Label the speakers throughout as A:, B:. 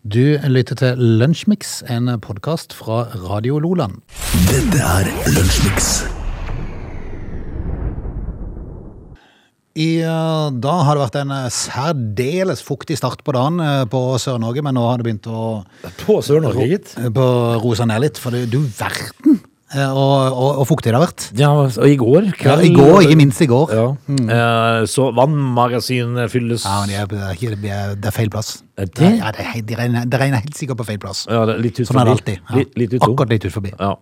A: Du lytter til Lunsjmix, en podkast fra Radio Loland.
B: Dette er Lunsjmix.
A: I eh, dag har det vært en eh, særdeles fuktig start på dagen eh, på Sør-Norge, men nå har det begynt å
C: På Sør-Norge, gitt.
A: eh, på rose ned litt, for det, du verden eh, og, og, og fuktig det har vært.
C: Ja, og i går
A: Ja, I går, ikke minst i går.
C: Ja. Eh, så vannmagasinet fylles
A: Ja, men det er, det er ikke- det er, det er feil plass.
C: Er det?
A: Ja, det er, helt- det regner, det regner helt sikkert på feil plass.
C: Ja, det er litt ut
A: Sånn er det
C: forbi.
A: alltid. Ja.
C: Litt, litt ut forbi.
A: Akkurat Mm. litt ut forbi.
C: Ja.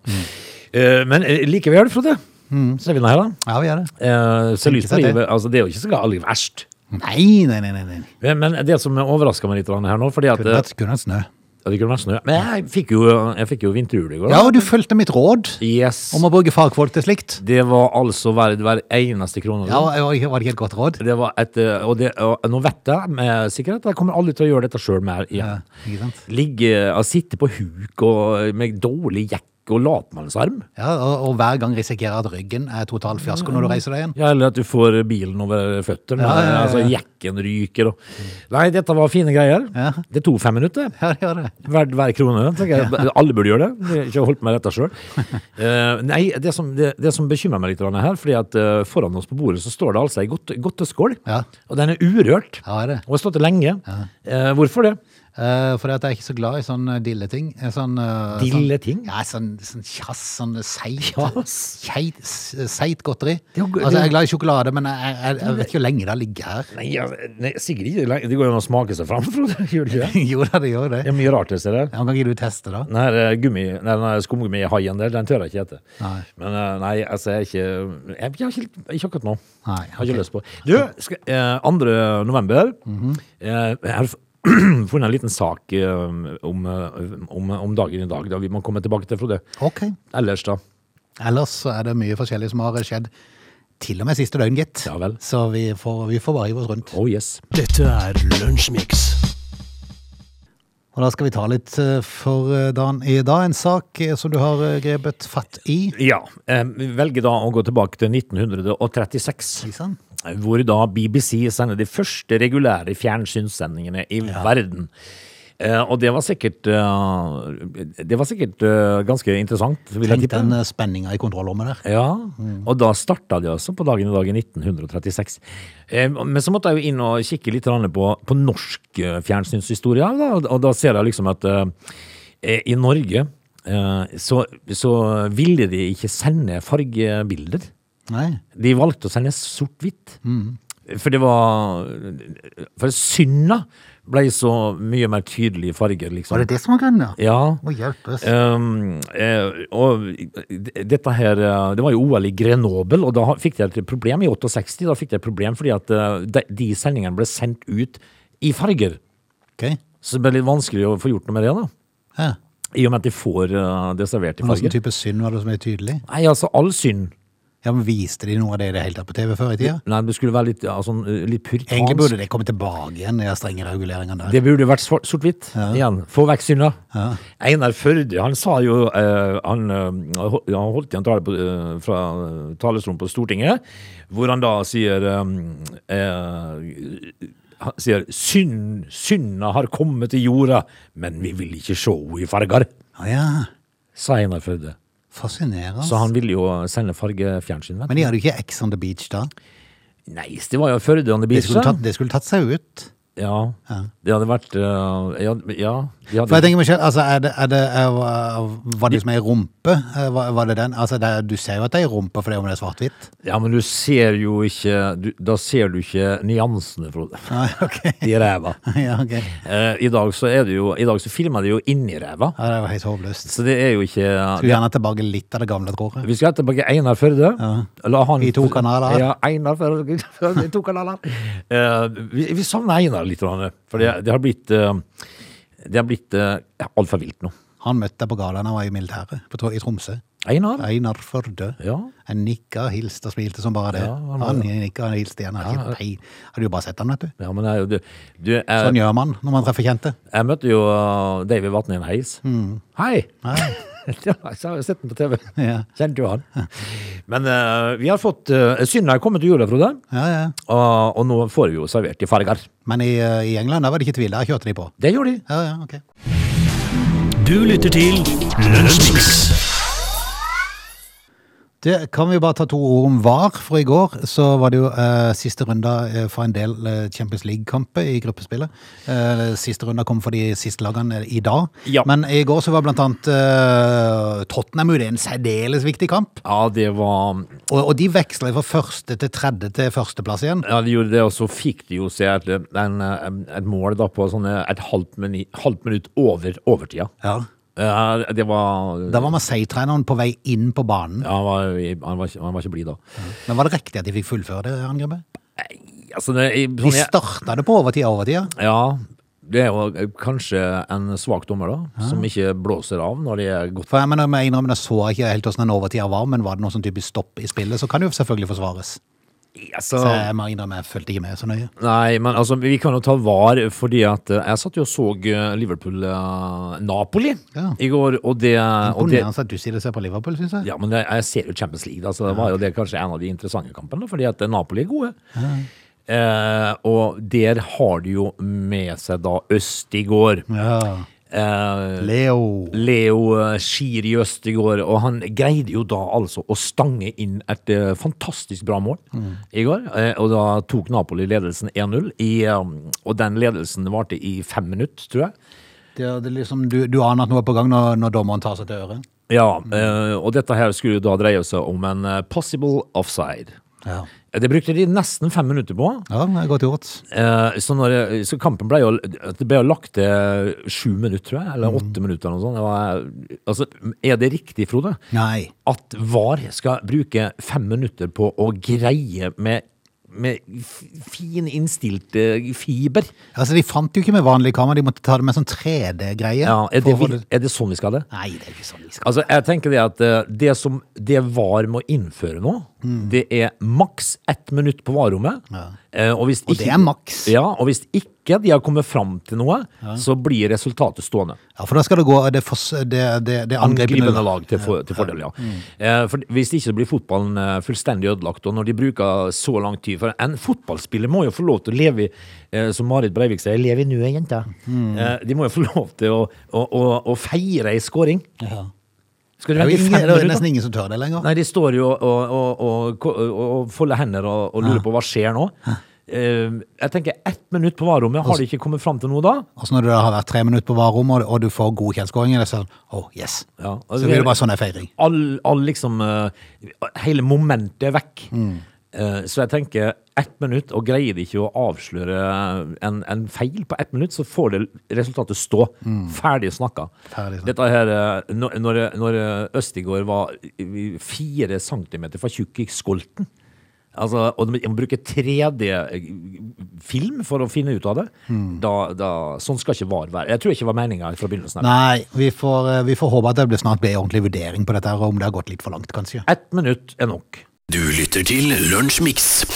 C: Eh, men eh, likevel, Frode, så er vi nå her, da.
A: Ja, vi gjør det.
C: Eh, så lyst på
A: Mm. seg det.
C: livet. Altså, det er jo ikke så galt verst.
A: Nei, nei, nei. nei, nei.
C: Men, men det som overraska meg litt grann her nå, fordi at
A: Kunne
C: eh,
A: vært, kunne vært snø.
C: ja, Det kunne vært snø. Men jeg fikk jo, jeg fikk jo vinterhjul i går.
A: Ja,
C: da.
A: og du fulgte mitt råd
C: Yes.
A: om å bruke fagfolk til slikt.
C: Det var altså hver, hver eneste krone.
A: Ja, var var det ikke et godt råd?
C: Det var et, eh, og, det, og nå vet jeg med sikkerhet at jeg kommer aldri til å gjøre dette sjøl mer igjen.
A: Ja, ikke sant?
C: Ligge, og sitte på huk og, med dårlig jekk og latmannsarm.
A: Ja, og, og hver gang risikerer at ryggen er total fiasko når du reiser deg igjen.
C: Ja, eller at du får bilen over føttene.
A: Ja, ja, ja, ja.
C: Altså jekken ryker og Nei, dette var fine greier.
A: Ja.
C: Det tok fem minutter.
A: Ja, det gjør det.
C: Hver, hver krone. tenker jeg. Alle burde gjøre det. Jeg har ikke holdt meg dette sjøl. Eh, nei, det som, det, det som bekymrer meg litt grann her, fordi at eh, foran oss på bordet så står det altså ei godt, godteskål.
A: Ja.
C: Og den er urørt.
A: Ja, det er det.
C: Og har stått der lenge. Eh, hvorfor det?
A: Eh, fordi at jeg er ikke så glad i sånn eh, dilleting. Eh, Sånn, eh,
C: Dilleting?
A: Sånn, ja, sånn, sånn kjass, sånn seit.
C: Kjass?
A: Keit, s- seit godteri.
C: Det er jo go-
A: Altså, jeg er glad i sjokolade, men jeg, jeg, jeg vet ikke hvor lenge det har ligget her.
C: Nei, altså, nei Sigrid, det er- det går jo an å smake seg fram, Frode. Gjør det ikke det?
A: jo da, det gjør det.
C: Det er mye rart det ser der.
A: Ja, men kan ikke du teste da?
C: Den her eh, gummi, nei, den her skumgummihaien der, den tør jeg ikke hete.
A: Nei.
C: Men eh, nei, altså, jeg er ikke Jeg, jeg har ikke, ikke akkurat nå.
A: Nei,
C: Jeg har ikke lyst på. Du, skal, eh, 2. november eh, Jeg har f- funnet en liten sak eh, om, eh, om, om dagen i dag. Da vi må komme tilbake til, Frode.
A: Ok.
C: Ellers, da.
A: Ellers så er det mye forskjellig som har skjedd. Til og med siste døgn, gitt.
C: Ja vel.
A: Så vi får, vi får bare hive oss rundt.
C: Oh yes.
B: Dette er Lunsjmix.
A: Og da skal vi ta litt eh, for eh, dagen i dag. En sak eh, som du har eh, grepet fatt i.
C: Ja. eh, Vi velger da å gå tilbake til 1936.
A: Ikke sant?
C: hvor da BBC sender de første regulære fjernsynssendingene i verden. Eh, og det var sikkert eh, Det var sikkert eh, ganske interessant. Vil jeg
A: Tenk
C: tippe.
A: den eh, spenninga i kontrollrommet der.
C: Ja, og da starta de altså på dagen i dag i 1936. Eh, men så måtte jeg jo inn og kikke litt grann på, på norsk eh, fjernsynshistorie, da, og- og da ser jeg liksom at eh, i Norge eh, så, så ville de ikke sende fargebilder.
A: Nei.
C: De valgte å sende sort-hvitt.
A: Mm.
C: For det var For synda ble så mye mer tydelig i farger, liksom.
A: Var det det som var grunnen, ja?
C: Ja.
A: Må hjelpes.
C: Um, eh, og d- dette her eh, Det var jo OL i Grenoble, og da ha- fikk de et problem i 68. Da fikk de et problem fordi at eh, de, de sendingene ble sendt ut i farger.
A: Ok.
C: Så det ble litt vanskelig å få gjort noe med det, da.
A: Ja.
C: I og med at de får eh, det servert i
A: Men Hvilken
C: farger.
A: type synd var det som er tydelig?
C: Nei, altså, all synd.
A: Ja, men Viste de noe av det i det hele tatt på TV før i tida?
C: Nei, det skulle være litt, ja, sånn, eh, litt puritansk.
A: Egentlig burde det komme tilbake igjen, de strenge reguleringene der.
C: Det burde vært svart- sort-hvitt igjen. Få vekk synda. Einar Førde, han sa jo eh, Han, eh, hol- han holdt igjen tale på, eh, fra eh, talerstolen på Stortinget, hvor han da sier eh, eh, han sier synd, synda har kommet til jorda, men vi vil ikke se henne i farger,
A: Å ja.
C: sa Einar Førde.
A: Fascinerende.
C: Så han ville jo sende fargefjernsyn. vet du.
A: Men de hadde jo ikke Ex on the Beach da.
C: Nei, det var jo Førde on the
A: Det
C: beach.
A: skulle
C: da.
A: tatt, det skulle tatt seg ut.
C: Ja. Det hadde vært eh, Ja. ja de hadde-
A: For jeg tenker meg selv, altså, er det, er det, er, Var det som er i rumpe? Eh, Var, var det den? Altså, det, er- du ser jo at det er i rumpa fordi om det er svart-hvitt.
C: Ja, men du ser jo ikke du, Da ser du ikke nyansene, Frode.
A: Nei, ok.
C: I ræva.
A: Ja, ok.
C: Eh, I dag så er det jo I dag så filmer de jo inni ræva.
A: Ja, det var helt håpløst.
C: Så det er jo ikke
A: Skulle gjerne tilbake litt av det gamle, tror jeg.
C: Vi skal tilbake Einar Førde. La han,
A: I to kanaler.
C: Ja, Einar Førde Førde i to kanaler. Eh, vi, vi savner Einar litt, Rane, for det, det har blitt eh, Det har blitt uh, altfor vilt nå.
A: Han møtte jeg på gala da jeg var i militæret, på Tro- i Tromsø.
C: Einar?
A: Einar Førde.
C: Ja.
A: Jeg nikka, hilste og smilte som bare det.
C: Ja, han
A: han
C: var-
A: nikka og hilste igjen. Jeg hadde ikke peil- hadde jo bare sett han, vet du.
C: ja men jeg, du, du, jeg,
A: Sånn gjør man når man treffer kjente. Mm.
C: jeg møtte jo eh, David Vatne i en heis. Hei!
A: Nei.
C: Ja, jeg har sett den på TV.
A: Ja.
C: Kjente jo han. Men eh, vi har fått uh, Synda er kommet til jula, Frode.
A: Ja, ja.
C: Og, og nå får vi jo servert i farger.
A: Men i, eh, i England der var det ikke tvil, der kjørte de på.
C: Det gjorde de.
A: Ja, ja, ok.
B: Du lytter til Lunsjmix.
A: Det kan vi bare ta to ord om VAR, for i går så var det jo eh, siste runde eh, for en del eh, Champions League-kamper i gruppespillet. Eh, siste runde kom for de siste lagene eh, i dag.
C: Ja.
A: Men i går så var blant annet eh, Tottenham ute i en særdeles viktig kamp.
C: Ja, det var
A: Og, og de veksla fra første til tredje til førsteplass igjen.
C: Ja, de gjorde det, og så fikk de jo se et, en, et mål da på sånne, et halvt minutt, halvt minutt over overtida.
A: Ja.
C: Ja, det var
A: Da var Marseille-treneren på vei inn på banen.
C: ja, han, var, han, var, ikke- han var ikke blid da.
A: Men var det riktig at de fikk fullføre det angrepet?
C: Altså, det, jeg-
A: De
C: sånn, jeg,
A: starta det på overtid og overtid.
C: ja, det er jo kanskje en svak dommer, da, som ikke blåser av når det er godt.
A: For jeg mener, jeg innrømmer, jeg så ikke helt hvordan den overtida var, men var det noe sånn typisk stopp i spillet, så kan det jo selvfølgelig forsvares. Så
C: Altså,
A: jeg må innrømme, jeg fulgte ikke med så nøye.
C: nei, men altså, vi kan jo ta var, fordi at eh, jeg satt jo og så eh, Liverpool-Napoli
A: Ja.
C: i går, og det, og det
A: Imponerende at du sier det ser på Liverpool, syns jeg.
C: Ja, men jeg, jeg ser jo Champions League, da, så det var jo det kanskje en av de interessante kampene, fordi at Napoli er gode. Eh, og der har de jo med seg da Østigård.
A: Ja.
C: Eh,
A: Leo.
C: Leo eh, Skiri Østigård, og han greide jo da altså å stange inn et eh, fantastisk bra mål i går. Eh, og da tok Napoli ledelsen 1-0, i, eh, og den ledelsen varte i fem minutter, tror jeg.
A: Det er, det er liksom, du, du aner at noe er på gang når, når dommeren tar seg til øret?
C: Ja, eh, og dette her skulle jo da dreie seg om en eh, possible offside. Eh,
A: Ja.
C: Det brukte de nesten fem minutter på.
A: ja, det er godt gjort.
C: Eh, så, når, jeg- så kampen ble jo, det ble jo lagt til sju minutter, tror jeg. Eller åtte minutter eller noe sånt. Det var, altså, er det riktig, Frode,
A: Nei.
C: at VAR skal bruke fem minutter på å greie med, med f- fin innstilt eh, fiber?
A: Altså, De fant jo ikke med vanlig kamera, de måtte ta det med sånn 3D-greie.
C: Ja, er,
A: for
C: det,
A: å få
C: vi- er det sånn vi skal ha det?
A: Nei, det er ikke sånn de skal
C: Altså, jeg tenker det at eh, det som det VAR må innføre nå,
A: Mm.
C: det er maks ett minutt på varerommet. Eh, Og, hvis
A: Og det er maks.
C: Ja, og hvis ikke de har kommet fram til noe, så blir resultatet stående.
A: Ja, For da skal det gå det, fors- det, det, det angripende
C: Angripende lag til, for, til fordel, ja.
A: Mm.
C: Eh, For hvis ikke så blir fotballen eh, fullstendig ødelagt, og når de bruker så lang tid For en fotballspiller må jo få lov til å leve i, eh, som Marit Breivik sier, leve i nuet, jenta.
A: Mm.
C: Eh, De må jo få lov til å, å, å, å feire ei scoring.
A: Ja.
C: Skal
A: Det er
C: du
A: jo
C: vente i
A: ingen, det
C: fem
A: er jo
C: minutter?
A: nesten ingen som tør det lenger.
C: Nei, de står jo og, og, og, og, og folder hender og, og lurer på hva skjer nå. Eh, jeg tenker ett minutt på varerommet. Har de ikke kommet fram til noe da?
A: Og så når du da har vært tre minutter på varerommet, og, og du får godkjentskåring, er det sånn oh yes.
C: Ja, altså,
A: Så blir det bare sånn en feiring.
C: all, all liksom eh, Hele momentet er vekk.
A: Mm.
C: Eh, så jeg tenker ett minutt, og greier de ikke å avsløre en, en feil på ett minutt, så får det resultatet stå. Ferdig snakka.
A: Mm. Ferdig snakka.
C: Dette her, eh, når, når, når eh, Østigård var i- i fire centimeter for tjukk i skolten Altså, og de må bruke 3D-film for å finne ut av det.
A: Mm.
C: Da, da, sånn skal ikke VAR være. Jeg tror ikke det var meninga fra begynnelsen. av.
A: Nei, vi får, eh, vi får håpe at det blir snart blir ordentlig vurdering på dette, her, og om det har gått litt for langt, kanskje.
C: Ett minutt er nok.
B: Du lytter til Lunsjmix.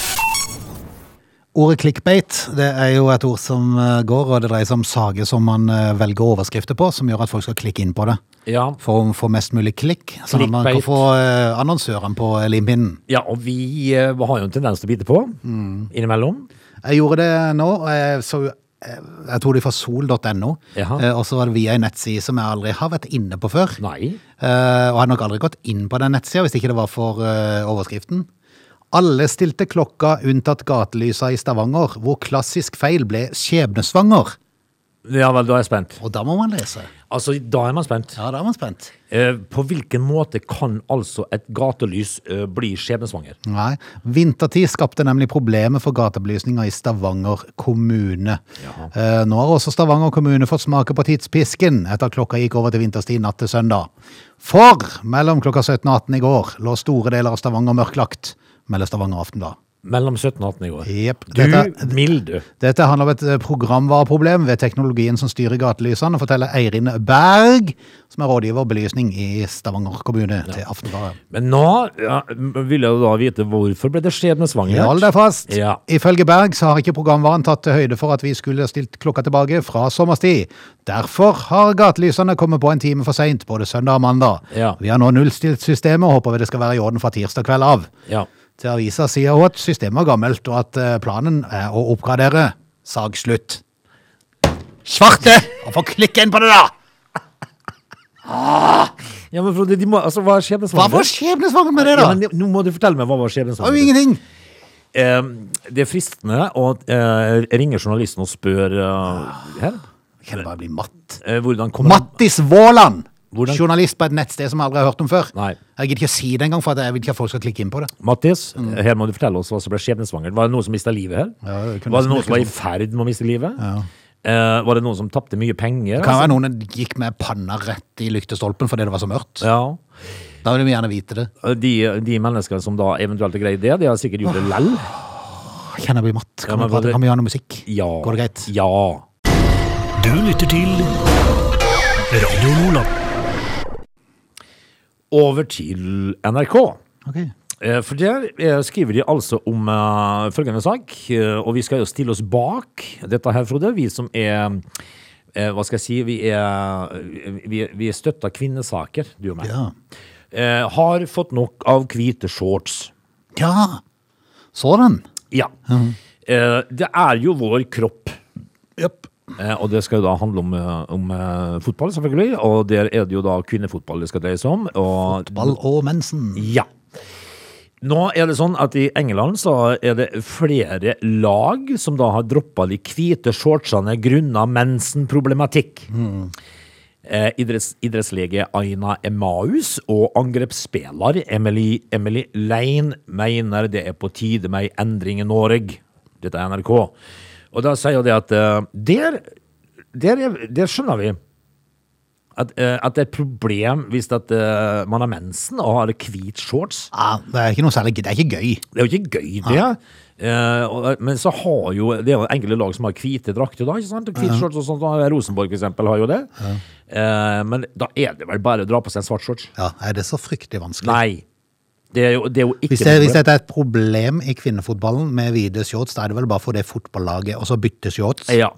A: Ordet clickbait det er jo et ord som eh, går, og det dreier seg om saker som man eh, velger overskrifter på, som gjør at folk skal klikke inn på det.
C: Ja.
A: For å få mest mulig klikk, sånn at man kan
C: Clickbait.
A: få eh, annonsørene på eh, limpinnen.
C: Ja, og vi eh, har jo en tendens til å bite på Mm. innimellom.
A: Jeg gjorde det nå, og jeg så eh, jeg tror det er fra sol.no,
C: Jaha.
A: eh, og så var det via en nettside som jeg aldri har vært inne på før.
C: Nei.
A: Eh, og hadde nok aldri gått inn på den nettsida hvis ikke det var for eh, overskriften. Alle stilte klokka unntatt gatelysa i Stavanger, hvor klassisk feil ble skjebnesvanger.
C: Ja vel, da er jeg spent.
A: Og da må man lese.
C: Altså, da er man spent.
A: Ja, da er man spent.
C: Eh, på hvilken måte kan altså et gatelys eh, bli skjebnesvanger?
A: Nei. Vintertid skapte nemlig problemer for gatebelysninga i Stavanger kommune. Eh, nå har også Stavanger kommune fått smake på tidspisken etter at klokka gikk over til vinterstid natt til søndag. For mellom klokka 17 og 18 i går lå store deler av Stavanger mørklagt, melder Stavanger Aftenblad.
C: mellom 17 og 18 i går.
A: Jepp.
C: Du
A: Dette-
C: milde.
A: Dette handler om et eh, programvareproblem ved teknologien som styrer gatelysene, forteller Eirin Berg, som er rådgiver belysning i Stavanger kommune, til Aftenbladet.
C: Men nå ja, vil jeg jo da vite hvorfor ble det skjebnesvangert.
A: Hold deg fast!
C: Ja.
A: Ifølge Berg så har ikke programvaren tatt til høyde for at vi skulle stilt klokka tilbake fra sommerstid. Derfor har gatelysene kommet på en time for seint, både søndag og mandag.
C: Ja.
A: Vi har nå nullstilt systemet og håper det skal være i orden fra tirsdag kveld av.
C: Ja.
A: Til avisa sier hun at systemet er gammelt, og at eh, planen er å oppgradere. Sag slutt. Svarte! Få klikke inn på det, da!
C: ja, men Frode, de må, altså, hva er
A: Hva var
C: skjebnesvangert?
A: skjebnesvangert med det,
C: Ja,
A: da?
C: men
A: Det
C: nå må du fortelle meg hva var
A: var jo
C: skjebnesvangert.
A: ingenting.
C: Eh, det er fristende å eh, ringe journalisten og spørre eh, her,
A: Kan det bare bli matt?
C: eh, hvordan kommer
A: Mattis Våland!
C: Hvordan-
A: Journalist på et nettsted som jeg aldri har hørt om før.
C: Nei.
A: Jeg gidder ikke å si det engang, for at jeg vil ikke at folk skal klikke inn på det.
C: Mattis, her må du fortelle oss hva som ble skjebnesvangert. Var det noen som mista livet her?
A: Mm. Ja, det kunne
C: var
A: nesten
C: det noen som var
A: virke
C: i ferd med å miste livet? Eh, var det noen som tapte mye penger?
A: Kan være noen gikk med panna rett i lyktestolpen fordi det var så mørkt.
C: Ja.
A: Da vil vi gjerne vite det.
C: De, de menneskene som da eventuelt har greid det, de har sikkert gjort det lell.
A: Jeg Kjenner jeg blir matt. Kan,
C: Ja, men
A: vi prate-
C: var det-
A: kan vi gjøre noe musikk?
C: Ja.
A: Går det greit?
C: Ja.
B: Du lytter til Radio Lola.
C: Over til NRK.
A: Ok.
C: Eh, For der eh, skriver de altså om eh, følgende sak, eh, og vi skal jo stille oss bak dette her, Frode. Vi som er eh, Hva skal jeg si? Vi er, vi, vi støtter kvinnesaker, du og meg.
A: Ja.
C: Eh, Har fått nok av hvite shorts.
A: ja. Så den.
C: Ja. Eh, Det er jo vår kropp. Eh, Og det skal jo da handle om, eh, om eh, fotball, selvfølgelig. Og der er det jo da kvinnefotball det skal dreie seg om. Og
A: Ball og mensen.
C: Ja. Nå er det sånn at i England så er det flere lag som da har droppa de hvite shortsene grunna mensenproblematikk. Eh, idretts, idrettslege Aina Emaus og angrepsspiller Emily, Emily Lein mener det er på tide med ei endring i Norge. Dette er NRK. Og da sier det at eh, der, der, er, der skjønner vi at, eh, at det er et problem hvis at, eh, man har mensen og har hvit shorts.
A: Ja, det er ikke noe særlig Det er ikke gøy.
C: Det er jo ikke gøy, det. Eh, og, men så har jo Det er jo enkelte lag som har hvite drakter, da. ikke sant? Og Hvite shorts og sånt. da. Rosenborg, for eksempel, har jo det. Eh, men da er det vel bare å dra på seg en svart shorts?
A: Ja, Er det så fryktelig vanskelig?
C: Nei. Det er jo, det er jo ikke
A: Hvis, det, hvis
C: noe
A: dette er et problem i kvinnefotballen med hvite shorts, da er det vel bare for det fotballaget og så bytte shorts?
C: Ja.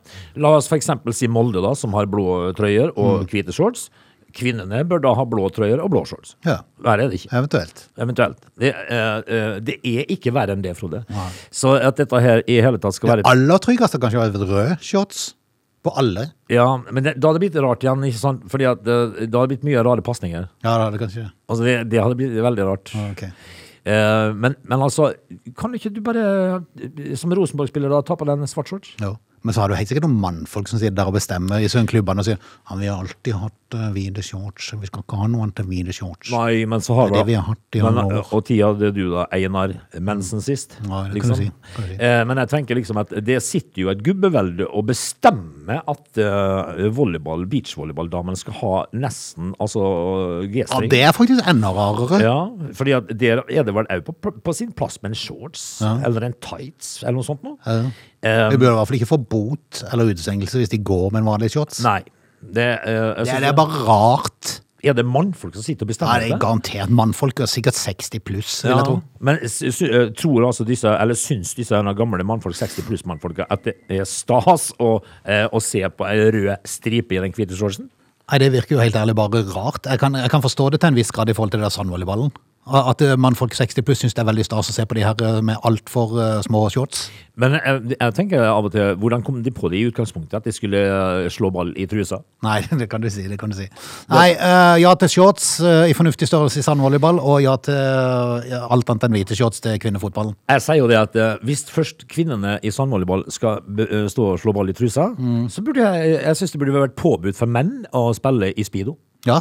C: La oss for eksempel si Molde, da, som har blå trøyer og
A: Mm.
C: hvite shorts. Kvinnene bør da ha blå trøyer og blå shorts.
A: Ja.
C: Verre er det ikke.
A: Eventuelt.
C: Eventuelt. Det, eh, eh, det er ikke verre enn det, Frode. Så at dette her i hele tatt skal være
A: Aller tryggest er kanskje å ha rød shorts på alle.
C: Ja, men det, da hadde det blitt rart igjen, ikke sant? Fordi at eh, da hadde det blitt mye rare pasninger.
A: Ja, da er det kanskje det.
C: Altså, det, det hadde blitt veldig rart.
A: Ok.
C: Eh, men, men altså, kan ikke du bare, eh, som Rosenborg-spiller, da, ta på deg en svart shorts?
A: Jo. Men så har du helt sikkert noen mannfolk som sitter der og bestemmer i søvnklubbene og sier ja, vi har alltid hatt eh, hvite shorts, vi skal ikke ha noe annet enn hvite shorts.
C: Nei, men så har
A: Det er det vi har hatt i alle
C: Men,
A: år.
C: eh, Og tida hadde du da, Einar Mensen sist.
A: Ja, det kan
C: liksom.
A: du si. Kan du si.
C: Eh, Men jeg tenker liksom at det sitter jo et gubbevelde og bestemmer at eh, volleyball, beachvolleyball-damene skal ha nesten altså
A: Ja,
C: G-string.
A: det er faktisk enda rarere.
C: Ja, fordi at der er det vel òg på, på sin plass med en shorts eller en tights eller noe sånt noe. Eh,
A: Vi burde i hvert fall ikke få bot eller utestengelse hvis de går med en vanlig shorts.
C: nei. Det, eh, jeg
A: Det,
C: synes
A: er- det er bare rart.
C: det- er det mannfolk som sitter og
A: Ja,
C: bestemmer
A: det er garantert mannfolk, og sikkert 60 pluss, vil jeg tro.
C: Men sy- sy- eh, tror altså disse, eller syns disse her gamle mannfolk, 60 pluss mannfolk, at det er stas å, eh, å se på ei rød stripe i den hvite shortsen?
A: Nei, Det virker jo helt ærlig bare rart. Jeg kan, jeg kan forstå det til en viss grad i forhold til det der sandvolleyballen. At eh, mannfolk 60 pluss syns det er veldig stas å se på de her eh, med altfor uh, små shorts.
C: Men jeg, jeg tenker av og til, hvordan kom de på det i utgangspunktet, at de skulle eh, slå ball i trusa?
A: Nei, det kan du si. det kan du si. Nei, eh, ja til shorts eh, i fornuftig størrelse i sandvolleyball, og ja til eh, alt annet enn hvite shorts til kvinnefotballen.
C: Jeg sier jo det at eh, hvis først kvinnene i sandvolleyball skal be- eh, stå og slå ball i trusa, så burde jeg, jeg synes det burde vært påbud for menn å spille i speedo.
A: Ja,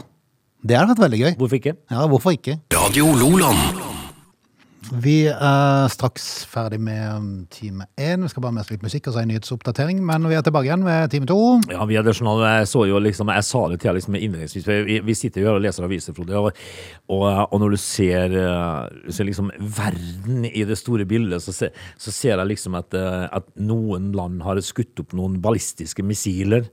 A: det hadde vært veldig gøy.
C: Hvorfor ikke?
A: Ja, Hvorfor ikke?
B: Radio Loland.
A: Vi er straks ferdig med um, time én. Vi skal bare mest litt musikk og så en nyhetsoppdatering, men vi er tilbake igjen ved time to.
C: Ja, vi er det sånn, jeg så jo liksom, jeg sa det til deg liksom innledningsvis, for vi, vi sitter jo her og leser aviser, Frode, og, og, og når du ser, eh, ser liksom verden i det store bildet, så, se, så ser jeg liksom at, eh, at noen land har skutt opp noen ballistiske missiler,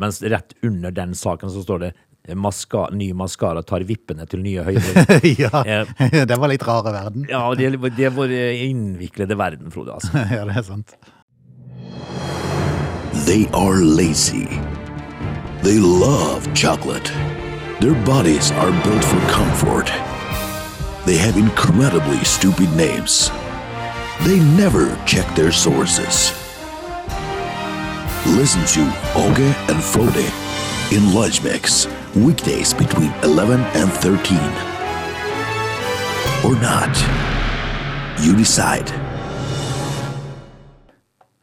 C: mens rett under den saken så står det Maska, ny maskara tar vippene til nye høyder.
A: ja,
C: Eh.
A: det var litt rare verden.
C: Ja, det, det er vår innviklede verden, Frode. Altså.
A: ja, det er sant.
D: They are lazy. They love chocolate. Their bodies are built for comfort. They have incredibly stupid names. They never check their sources. Listen to Oge and Frode in Lunch Mix, weekdays between 11 and 13. Or not. You decide.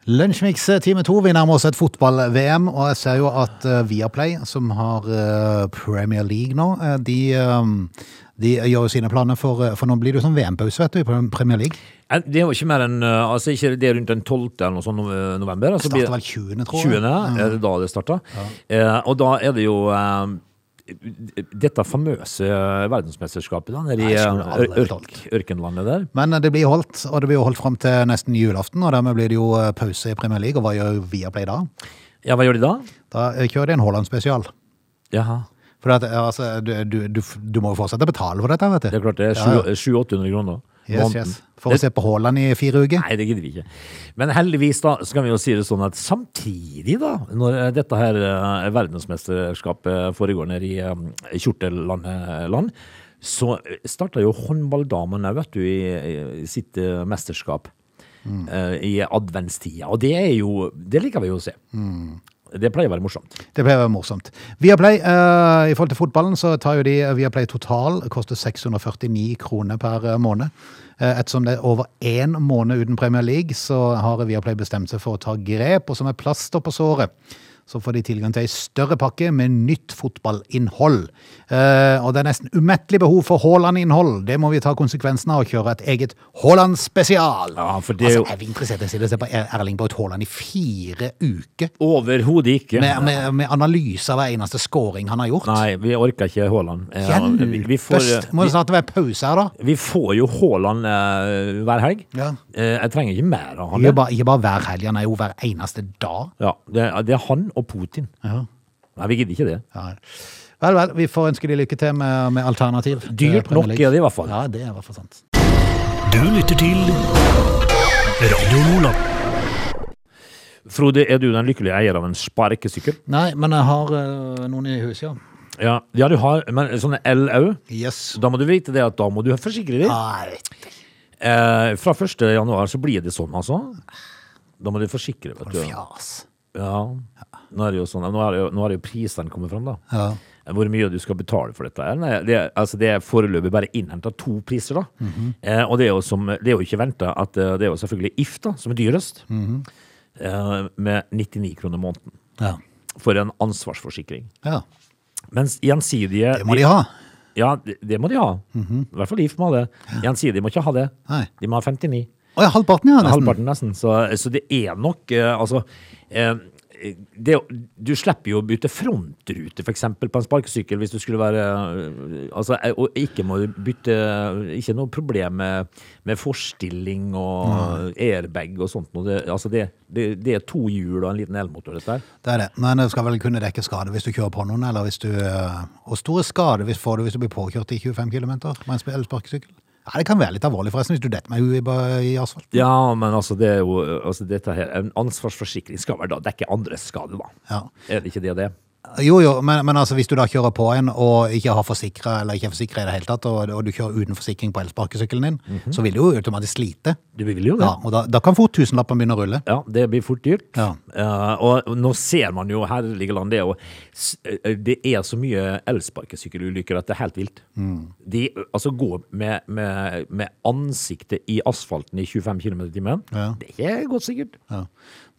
A: Lunsjmix eh, time to. Vi nærmer oss et fotball-VM, og jeg ser jo at eh, Viaplay, som har eh, Premier League nå, eh, de, eh, de gjør jo sine planer for eh, For nå blir det jo sånn VM-pause, vet du, i Pre- Premier League.
C: Eh, Det er jo ikke mer enn eh, altså ikke det er rundt den 12. eller noe sånt nove- november. Altså
A: Starter
C: blir-
A: vel 20., tror jeg. Mm.
C: 20. er det da det starter. Eh, og da er det jo eh, dette famøse verdensmesterskapet da, nede i
A: Nei, jeg skjønner
C: eh,
A: aldri
C: ør-
A: talt.
C: ørkenlandet der.
A: Men eh, det blir holdt, og det blir jo holdt fram til nesten julaften, og dermed blir det jo eh, pause i Premier League. Og hva gjør Viaplay da?
C: Ja, hva gjør de da?
A: Da eh, kjører de en Haaland-spesial.
C: Jaha.
A: For at, eh, altså, du, du, du, du må jo fortsette å betale for dette, vet du.
C: Det er klart det er
A: Ja, ja.
C: sju- 700-800 kroner.
A: Yes,
C: Måneden.
A: yes. For å
C: Det-
A: se på Haaland i fire uker.
C: Nei, det gidder vi ikke. Men heldigvis da, så kan vi jo si det sånn at samtidig da, når eh, dette her eh, verdensmesterskapet foregår nede i eh, Kjortelland, så starta jo håndballdamene, vet du, i, i sitt eh, mesterskap
A: Mm.
C: eh, i adventstida. Og det er jo, det liker vi jo å se.
A: Mm.
C: Det pleier å være morsomt.
A: Det ble morsomt. Viaplay, eh, i forhold til fotballen, så tar jo de eh, Viaplay total, koster 649 kroner per eh, måned. Eh, ettersom det er over én måned uten Premier League, så har Viaplay bestemt seg for å ta grep, og som er plaster på såret. Så får de tilgang til ei større pakke med nytt fotballinnhold. Eh, og det er nesten umettelig behov for Haaland-innhold. Det må vi ta konsekvensen av og kjøre et eget Haaland-spesial.
C: Ja, for det er
A: Altså,
C: jo
A: er vi interessert i å se på Erling Braut Haaland i fire uker?
C: overhodet ikke
A: Med, med, med analyse av hver eneste scoring han har gjort.
C: Nei, vi orker ikke Haaland. Eh, vi- vi får, eh,
A: Hjelpest! Må det snart være pause her, da?
C: Vi får jo Haaland eh, hver helg.
A: Ja.
C: Eh, jeg trenger ikke mer av han.
A: Ikke bare, ikke bare hver helg, han er jo hver eneste dag.
C: Ja, det er, det er han og Putin. Nei, vi gidder ikke det.
A: Ja. Vel, vel, vi får ønske de lykke til med, med alternativ. til
C: Dyrt
A: Premier
C: nok
A: League.
C: er det i hvert fall.
A: Ja, det er i hvert fall sant.
B: Du lytter til Radio Nordland.
C: Frode, er du den lykkelige eier av en sparkesykkel?
A: Nei, men jeg har øh, noen i huset, ja.
C: Ja, ja du har, men sånne L òg.
A: Yes.
C: Da må du vite det at da må du forsikre deg.
A: Nei,
C: Eh, fra 1. januar så blir det sånn, altså. Da må du forsikre, vet du.
A: fjas.
C: Ja. Nå er det jo sånn, nå er det jo, nå er det jo prisene kommet fram, da.
A: Ja.
C: Hvor mye du skal betale for dette. her. Nei, det, er- altså det er foreløpig bare innhenta to priser. da.
A: Mhm.
C: eh, og det er jo, som, det er jo ikke venta at eh, det er jo selvfølgelig If da, som er dyrest,
A: Mhm.
C: eh, med 99 kroner måneden.
A: ja.
C: For en ansvarsforsikring.
A: ja.
C: Mens gjensidige
A: Det må de ha.
C: Ja, det, det må de ha. I hvert fall If må ha det. Gjensidige må ikke ha det.
A: Nei.
C: De må ha 59.
A: Å ja, halvparten, ja. Nesten.
C: Halvparten nesten. Så, så det er nok eh, Altså eh, det, Du slipper jo å bytte frontrute, f.eks., på en sparkesykkel hvis du skulle være eh, Altså, eh, og ikke må du bytte Ikke noe problem med, med forstilling og airbag og sånt noe. Det, altså, det, det, det er to hjul og en liten elmotor, dette her.
A: Det er det. Men det skal vel kunne dekke skade hvis du kjører på noen, eller hvis du øh, Og store skade hvis, får du hvis du blir påkjørt i 25 km med en sp- eller sparkesykkel? Ja, det kan være litt alvorlig, forresten, hvis du detter med huet i, ba- i asfalt.
C: Ja, men altså, det er jo altså, dette her, En ansvarsforsikring skal vel da dekke andres skade, da.
A: Ja.
C: Er det ikke det det er?
A: Jo, jo, men, men altså, hvis du da kjører på en og ikke har forsikra, eller ikke er forsikra i det hele tatt, og, og du kjører uten forsikring på elsparkesykkelen din, så vil du jo automatisk slite.
C: Du vil jo det.
A: Ja, og da, da kan fort tusenlappen begynne å rulle.
C: Ja, det blir fort dyrt.
A: Ja.
C: Eh, og nå ser man jo herlige land, det er jo s- eh, Det er så mye elsparkesykkelulykker at det er helt vilt.
A: Mm.
C: De eh, altså går med, med, med ansiktet i asfalten i 25 km i timen.
A: Ja.
C: Det er godt sikkert.
A: Ja.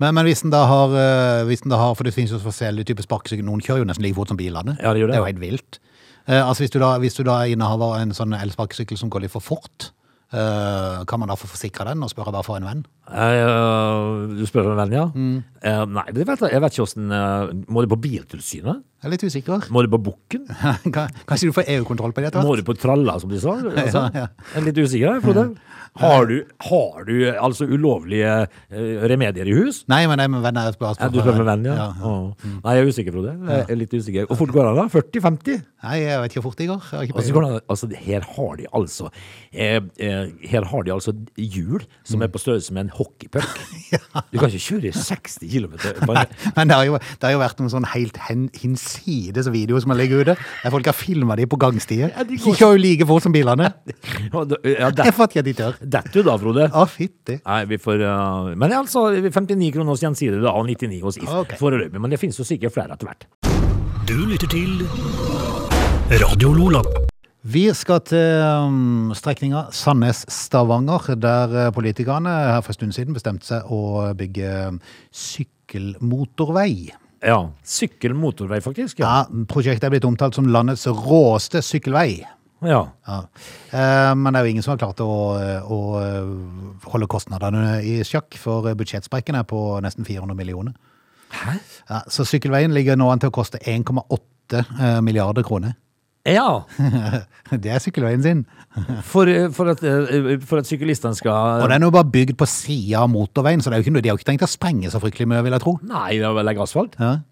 A: Men, men hvis den da har, eh, hvis den da har For det finnes jo forskjellige typer sparkesykkel. Noen kjører jo nesten like fort som bilene.
C: Ja, det gjør det.
A: er jo helt vilt. Eh, altså Hvis du da, hvis du da er innehaver av en sånn elsparkesykkel som går litt for fort, Eh, kan man da få forsikre den og spørre hva for en venn?
C: Eh, Du spør om en venn, ja?
A: Mm.
C: Eh, Nei, det vet jeg, jeg vet ikke åssen Må du på Biltilsynet?
A: Jeg er litt usikker.
C: Må du på Bukken?
A: Kan- Kanskje du får EU-kontroll på det etter
C: Må
A: hvert?
C: du på tralla, som de sa? Altså,
A: Ja, ja.
C: Jeg er litt usikker, jeg, Frode. Har du, har du eh, altså ulovlige eh, remedier i hus?
A: Nei, men nei, men venn er bare
C: Ja, du spør med venn, ja. Å. Nei, jeg er usikker, Frode. Jeg er litt usikker. Hvor fort går det da? 40-50?
A: Nei, jeg vet ikke hvor fort det går. Jeg har ikke peiling.
C: Altså, hvordan, altså, her har de altså eh, eh, Her har de altså hjul som er på størrelse med en hockeypuck. Du kan ikke kjøre i 60 km på en
A: Men det har, jo, det har jo vært noen sånn helt hen, hinsides videoer som har ligget ute. Der folk har filma de på gangstier.
C: Ja, de
A: de
C: går-
A: kjører jo like fort som bilene.
C: Ja, da- ja,
A: Jeg
C: det-
A: fatter ikke at de tør.
C: Detter du da, Frode?
A: Å, fytti.
C: Nei, vi får eh, Men det er altså 59 kroner hos Gjensidige da, og 99 hos If
A: Ok.
C: foreløpig. Men det finnes jo sikkert flere etter hvert.
B: Du lytter til Radio Lola.
A: Vi skal til um, strekninga Sandnes-Stavanger, der eh, politikerne her for en stund siden bestemte seg å bygge um, sykkelmotorvei.
C: Ja. Sykkelmotorvei, faktisk. Ja.
A: Ja, prosjektet er blitt omtalt som landets råeste sykkelvei.
C: ja.
A: Ja. Eh, Men det er jo ingen som har klart å, eh, å eh, holde kostnadene i sjakk, for budsjettsprekken er på nesten 400 millioner.
C: Hæ?
A: Ja, så sykkelveien ligger nå an til å koste 1,8 eh, milliarder kroner.
C: Ja,
A: Det er sykkelveien sin.
C: for, eh, for, at, eh, for at syklistene skal
A: Og den er jo bare bygd på sida av motorveien, så det er jo ikke, noe- de har jo ikke trengt å sprenge så fryktelig mye, vil jeg tro.
C: Nei, det er vel legge asfalt?
A: Ja.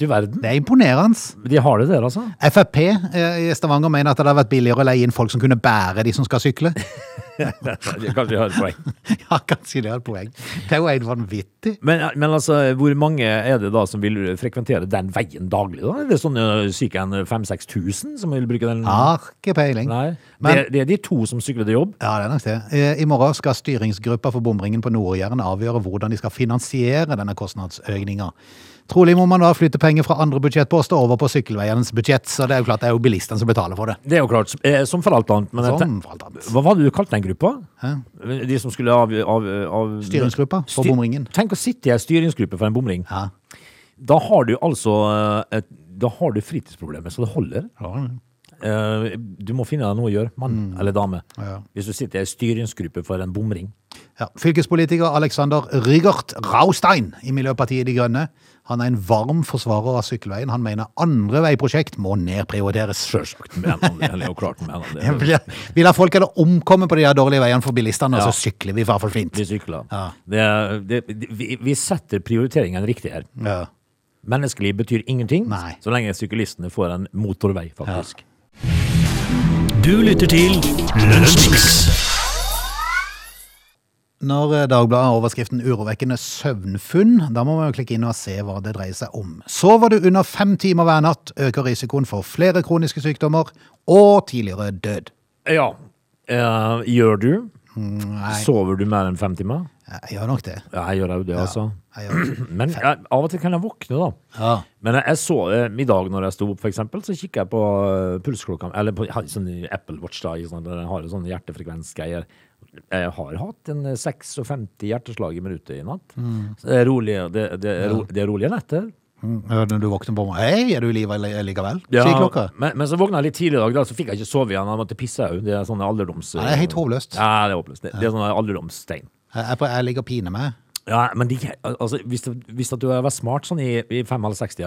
C: Du verden.
A: Det er imponerende.
C: De har det der, altså.
A: Frp eh, i Stavanger mener at det hadde vært billigere å leie inn folk som kunne bære de som skal sykle.
C: Kanskje de har et poeng.
A: Ja, kanskje det er et poeng. Det er jo helt vanvittig.
C: Men, men altså, hvor mange er det da som vil frekventere den veien daglig? da? Er det sånn eh, cirka en 5000-6000 som vil bruke den?
A: Har ikke peiling.
C: Nei.
A: Men-
C: det, det er de to som sykler til jobb.
A: Ja, det er nok det. Eh, I morgen skal styringsgruppa for bomringen på Nord-Jæren avgjøre hvordan de skal finansiere denne kostnadsøkninga. Trolig må man da flytte penger fra andre budsjettposter over på sykkelveienes budsjett, så det er jo klart det er jo bilistene som betaler for det.
C: Det er jo klart, eh, som for alt annet. Men jeg
A: Som
C: ten-
A: for alt annet.
C: hva var det du kalte den gruppa?
A: Hæ?
C: De som skulle av... av, av
A: Styringsgruppa for
C: Styr-
A: bomringen.
C: Tenk å sitte i en styringsgruppe for en bomring.
A: Ja.
C: Da har du altså eh, et, Da har du fritidsproblemer, så det holder. Eh, Du må finne deg noe å gjøre, mann eller dame.
A: Mm. Ja.
C: Hvis du sitter i en styringsgruppe for en bomring.
A: Ja. Fylkespolitiker Alexander Rygert Raustein i Miljøpartiet De Grønne. Han er en varm forsvarer av sykkelveien. Han mener andre veiprosjekt må nedprioriteres.
C: Sjølsagt mener han det. Eller jo klart mener han det.
A: Jeg vil- Vil ha folk eller omkomme på de her dårlige veiene for bilistene, og så sykler vi i hvert fall fint.
C: Vi sykler.
A: Ja.
C: Det, det, det, vi, vi setter prioriteringen riktig her.
A: Ja.
C: Menneskelig betyr ingenting
A: Nei.
C: så lenge syklistene får en motorvei, faktisk.
B: Du lytter til Lunsjmix.
A: Når eh, Dagbladet har overskriften 'Urovekkende søvnfunn', da må man jo klikke inn og se hva det dreier seg om. Sover du under fem timer hver natt, øker risikoen for flere kroniske sykdommer og tidligere død.
C: Ja. Eh, gjør du?
A: Nei,
C: Sover du mer enn fem timer?
A: jeg gjør nok det.
C: Ja, jeg gjør jo det, altså.
A: Jeg gjør det.
C: Men jeg, av og til kan jeg våkne, da.
A: Ja.
C: Men jeg, jeg så eh, i dag når jeg sto opp, for eksempel, så kikker jeg på eh, pulsklokka Eller på jeg har en sånn Apple Watch, da. i Sånn, den har en sånn hjertefrekvensgreier. Jeg har hatt en eh, 56 hjerteslag i minuttet i natt. Så det er rolige, det, det, er ro, det er rolige netter.
A: Mm, Når du våkner på morgenen 'Hei, er du i live li- likevel?' sier klokka.
C: men, men så våkna jeg litt tidlig i dag, da, så fikk jeg ikke sove igjen. Jeg måtte pisse òg. Det er sånn alderdoms...
A: Ja, det er helt håpløst.
C: Ja, det er håpløst. Det, det er sånn alderdomstegn.
A: Jeg, er på- jeg ligger og piner meg.
C: Ja, men de, altså, hvis, hvis at du hadde vært smart sånn i, i 65-60,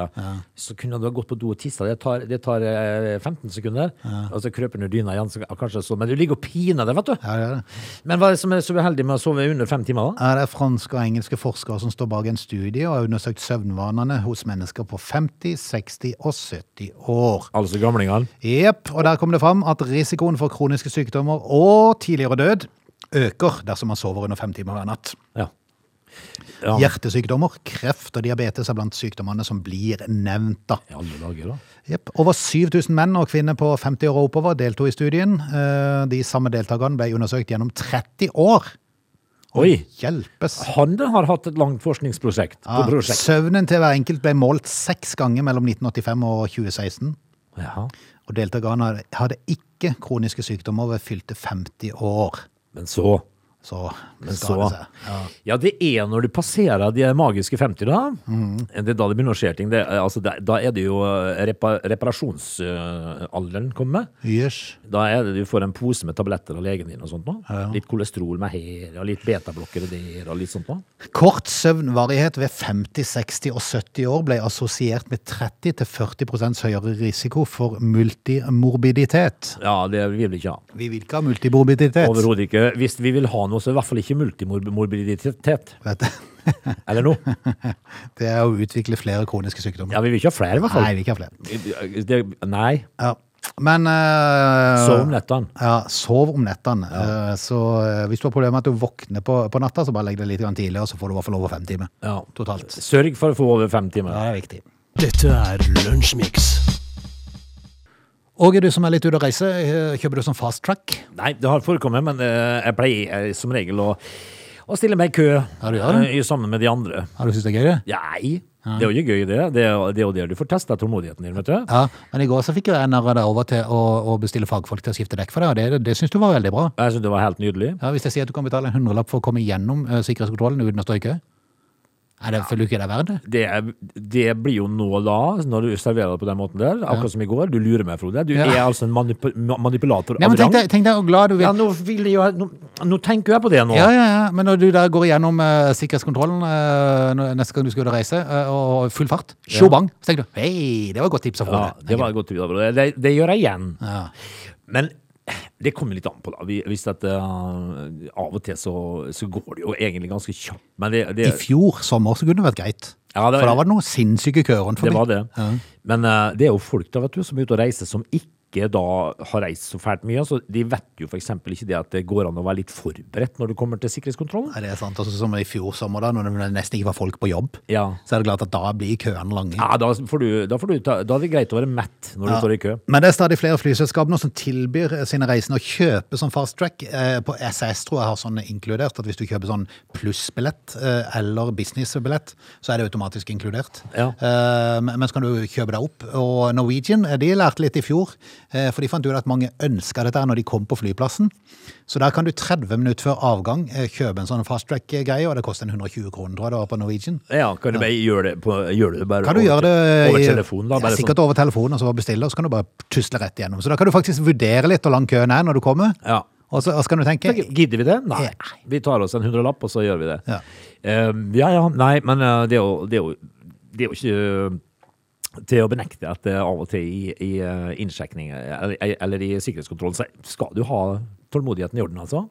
C: så kunne du ha gått på do og tissa. Det tar, det tar eh, 15 sekunder, og så krøper du dyna igjen. Så, ja, kanskje så, men du ligger og piner deg, vet du.
A: Ja, det er det.
C: Men hva er det som er så uheldig med å sove under fem timer? da?
A: Ja, det er franske og engelske forskere som står bak en studie og har undersøkt søvnvanene hos mennesker på 50, 60 og 70 år.
C: Altså gamlingene.
A: Jepp, og der kom det fram at risikoen for kroniske sykdommer og tidligere død øker dersom man sover under fem timer hver natt.
C: Ja. Ja.
A: Hjertesykdommer, kreft og diabetes er blant sykdommene som blir nevnt. da.
C: I alle dager, da.
A: Jepp. Over 7000 menn og kvinner på 50 år og oppover deltok i studien. Eh, De samme deltakerne ble undersøkt gjennom 30 år.
C: Oi!
A: Hjelpes!
C: Han har hatt et langt forskningsprosjekt. På
A: Ja,
C: prosjekt.
A: søvnen til hver enkelt ble målt seks ganger mellom 1985 og 2016.
C: Ja.
A: Og deltakerne hadde ikke kroniske sykdommer ved fylte 50 år.
C: Men så
A: så
C: Men
A: skal
C: så
A: det seg.
C: ja. det er når du passerer de magiske 50, da.
A: Mm.
C: Det er da det begynner å skje ting. Det, er- altså, det, da er det jo eh, repa, reparasjonsalderen kommer.
A: Jøss.
C: Da er det du får en pose med tabletter av legen din og sånt nå. Litt kolesterol med her, og litt betablokker der, og litt sånt nå.
A: Kort søvnvarighet ved 50, 60 og 70 år ble assosiert med 30-40 høyere risiko for multimorbiditet.
C: Ja, det vil vi ikke ha.
A: Vi vil ikke ha multimorbiditet.
C: Overhodet ikke. Hvis vi vil ha noe, så er det i hvert fall ikke multimorbiditet.
A: Vet du.
C: Eller noe.
A: Det er å utvikle flere kroniske sykdommer.
C: Ja, vi vil ikke ha flere, i
A: Nei,
C: hvert fall.
A: vi vil ikke ha flere.
C: Det, nei.
A: Ja. Men eh,
C: Sov om nettene.
A: Ja, sov om nettene. Eh, så eh, hvis du har problemer med at du våkner på, på natta, så bare legg deg litt grann tidligere, så får du i hvert fall over fem timer.
C: Ja.
A: Totalt.
C: Sørg for å få over fem timer.
A: det er viktig.
B: Dette er Lunsjmix.
A: Åge, du som er litt ute og reiser, eh, kjøper du sånn fast track?
C: Nei, det har forekommet, men eh, jeg pleier eh, som regel å, å stille meg i kø
A: Ja, du gjør det.
C: eh, i- sammen med de andre.
A: Ja, du syns det er gøy, det?
C: Nei, det er jo ikke gøy det. Det er jo- det er jo der du får testa tålmodigheten din, vet du.
A: Ja, men i går så fikk jo jeg narra deg over til å, å bestille fagfolk til å skifte dekk for deg, og det, det syns du var veldig bra.
C: Jeg syns det var helt nydelig.
A: Ja, Hvis jeg sier at du kan betale en hundrelapp for å komme gjennom eh, sikkerhetskontrollen uten å stå i kø, Nei, det føler du ikke det er verdt det?
C: Det, er- det blir jo nå da, når du serverer det på den måten der, akkurat som i går. Du lurer meg, Frode. Du
A: Ja.
C: er altså en manipu ma- manipulator
A: Nei,
C: av
A: men tenk
C: rang.
A: deg, tenk deg hvor glad du vil
C: Ja, nå, vil jeg, jo- nå, nå tenker jeg på det nå.
A: Ja, ja, ja. Men når du der går igjennom eh, sikkerhetskontrollen eh, når- neste gang du skal ut og reise, eh, og full fart, tjo bang, så tenker du hei, det var et godt tips å få.
C: Ja, det var godt å vite. bro. Det, det gjør jeg igjen.
A: Ja.
C: Men eh, det kommer litt an på, da. Vi- Hvis at, eh, av og til så, så går det jo egentlig ganske kjapt. Men det,
A: I
C: det,
A: fjor sommer så kunne det vært greit.
C: Ja, det-
A: For da var det noen sinnssyke køer rundt
C: det
A: forbi.
C: var det. Men eh, det er jo folk da, vet du, som er ute og reiser, som ikke da har reist så fælt mye. Så de vet jo f.eks. ikke det at det går an å være litt forberedt når du kommer til sikkerhetskontrollen.
A: Nei, det er sant. Også som i fjor sommer, da, når det nesten ikke var folk på jobb,
C: Ja.
A: så er det klart at da blir køene lange.
C: Ja, da, får du, da, får du ta, da er det greit å være mett når du står i kø.
A: Men det er stadig flere flyselskap nå som tilbyr eh, sine reisende å kjøpe sånn fast track. Eh, På SAS tror jeg har sånn inkludert at hvis du kjøper sånn plussbillett eh, eller businessbillett, så er det automatisk inkludert.
C: Ja.
A: Eh, Men men så kan du kjøpe deg opp. Og Norwegian eh, de lærte litt i fjor, eh, for de fant ut at mange ønska dette her når de kom på flyplassen. Så der kan du 30 minutter før avgang eh, kjøpe en sånn fast track-greie, og det koster en 120 kroner, tror jeg det var, på Norwegian.
C: Ja, kan du bare gjøre det, på, gjøre det bare
A: Kan du
C: over,
A: gjøre det
C: over
A: i-
C: telefon, da?
A: ja,
C: Bare sånn.
A: sikkert over telefonen, og så bare bestille, og så kan du bare tusle rett gjennom. Så da kan du faktisk vurdere litt hvor lang køen er når du kommer,
C: sånn. Ja.
A: og så, og så kan du tenke
C: Men Gidder vi det? Nei.
A: Nei.
C: Vi tar oss en hundrelapp, og så gjør vi det.
A: Ja.
C: Eh, ja, ja, nei, men eh, det er jo, det er jo, det er jo ikke eh, til å benekte at eh, av og til i, i eh, innsjekning eh, eller, eller i sikkerhetskontrollen, så skal du ha tålmodigheten i orden, altså.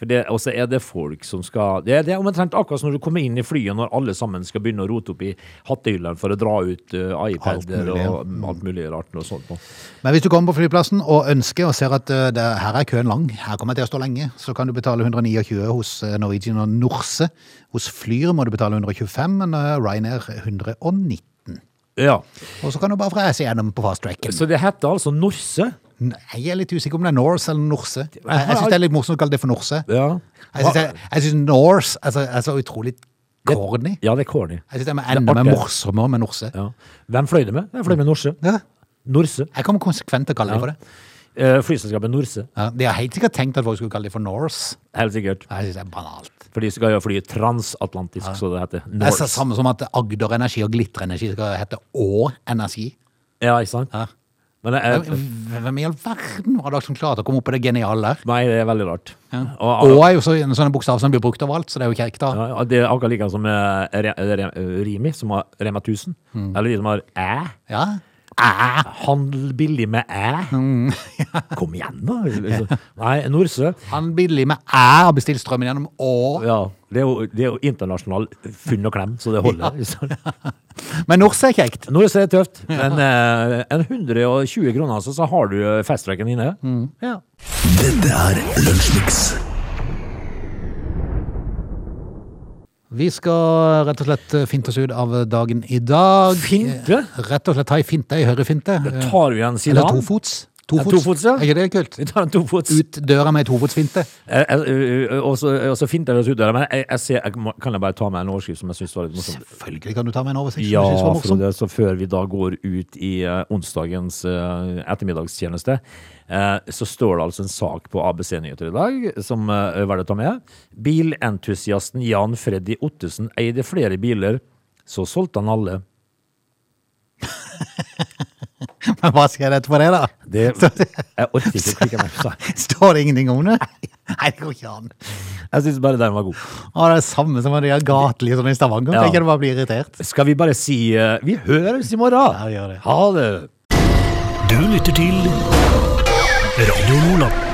C: For det, og så er det folk som skal Det, det er omtrent akkurat som når du kommer inn i flyet, når alle sammen skal begynne å rote opp i hattehyllene for å dra ut eh, iPader
A: mulig, ja.
C: og alt mulig rart og sånt. noe.
A: Men hvis du kommer på flyplassen og ønsker og ser at eh, det, her er køen lang, her kommer jeg til å stå lenge, så kan du betale 129 hos eh, Norwegian og Norse. Hos Flyr må du betale 125, men eh, Ryanair 119.
C: Ja.
A: Og så kan du bare reise gjennom på fast-tracken.
C: Så det heter altså Norse.
A: Jeg er litt usikker om det er Norse eller Norse. Jeg, jeg syns det er litt morsomt å kalle det for Norse.
C: Ja.
A: Jeg syns jeg- jeg syns Norse altså, er så utrolig corny.
C: Ja, det er corny.
A: Jeg synes det er
C: Det er
A: enda mer
C: artig.
A: morsommere med Norse.
C: Ja. Hvem fløy det med? Jeg fløy med Norse.
A: Ja.
C: Norse.
A: Jeg kommer konsekvent til å kalle dem for det.
C: Eh, flyselskapet Norse,
A: Ja, de har helt sikkert tenkt at folk skulle kalle dem for Norse.
C: helt sikkert.
A: Jeg synes det er banalt.
C: For de skal jo fly transatlantisk, så det heter.
A: Det er så
C: Norse.
A: samme som at Agder Energi og Glitter Energi skal hete Å Energi.
C: Ja, ikke sant?
A: Ja.
C: Men jeg, jeg,
A: Hvem i all verden var det som klarte å komme opp med det geniale der?
C: nei, det er veldig rart. Og,
A: Å er jo så, en sånn bokstav som blir brukt overalt, så det er jo kjekt, da.
C: ja, ja, det er akkurat like som eh, Re- Re- Rimi, som har Rema 1000. Eller de som har æ.
A: Ja.
C: Æ! Handel billig med æ. Kom igjen, da! liksom. Nei, Norse.
A: Han billig med æ har bestilt strømmen gjennom Å.
C: Ja, det er jo, det er jo internasjonal funn og klem, så det holder. liksom.
A: Men Norse er kjekt.
C: Norse er tøft, men eh, en 120 kroner, altså, så har du eh, fasttracken inne. Ja.
D: Dette er Lunsjmix.
A: Vi skal rett og slett eh, finte oss ut av dagen i dag.
C: Finte?
A: Rett og slett ta ei finte, ei høyrefinte. Eh,
C: Tar du igjen
A: Eller
C: Zidane?
A: tofots.
C: En tofots, ja.
A: Er ikke det kult?
C: Vi tar en Eh, tofots.
A: Ut døra med ei tofotsfinte.
C: Jeg- jeg- jeg- jeg- Og så eh, og så finter vi oss ut der. Men jeg, jeg ser, jeg, må- kan jeg bare ta med en overskrift som jeg syns var litt morsom?
A: Selvfølgelig kan du ta med en oversikt.
C: Ja,
A: som du synes var morsom.
C: Frode. Så før vi da går ut i eh, onsdagens eh, ettermiddagstjeneste, eh, så står det altså en sak på ABC Nyheter i dag som uh, var det å ta med. Bilentusiasten Jan Freddy Ottesen eide flere biler, så solgte han alle.
A: Men hva skal jeg rette for det, da?
C: Det, jeg orker ikke å klikke meg på seg.
A: Står det ingenting om det? Nei, det går ikke an.
C: Jeg syns bare den var god.
A: Å, det er det samme som de har gatelig sånn i Stavanger.
C: Ja.
A: Tenker du bare blir irritert.
C: Skal vi bare si eh, vi høres i morgen?
A: Ja, vi gjør det.
C: Ha det!
B: Du lytter til Radio Nordland.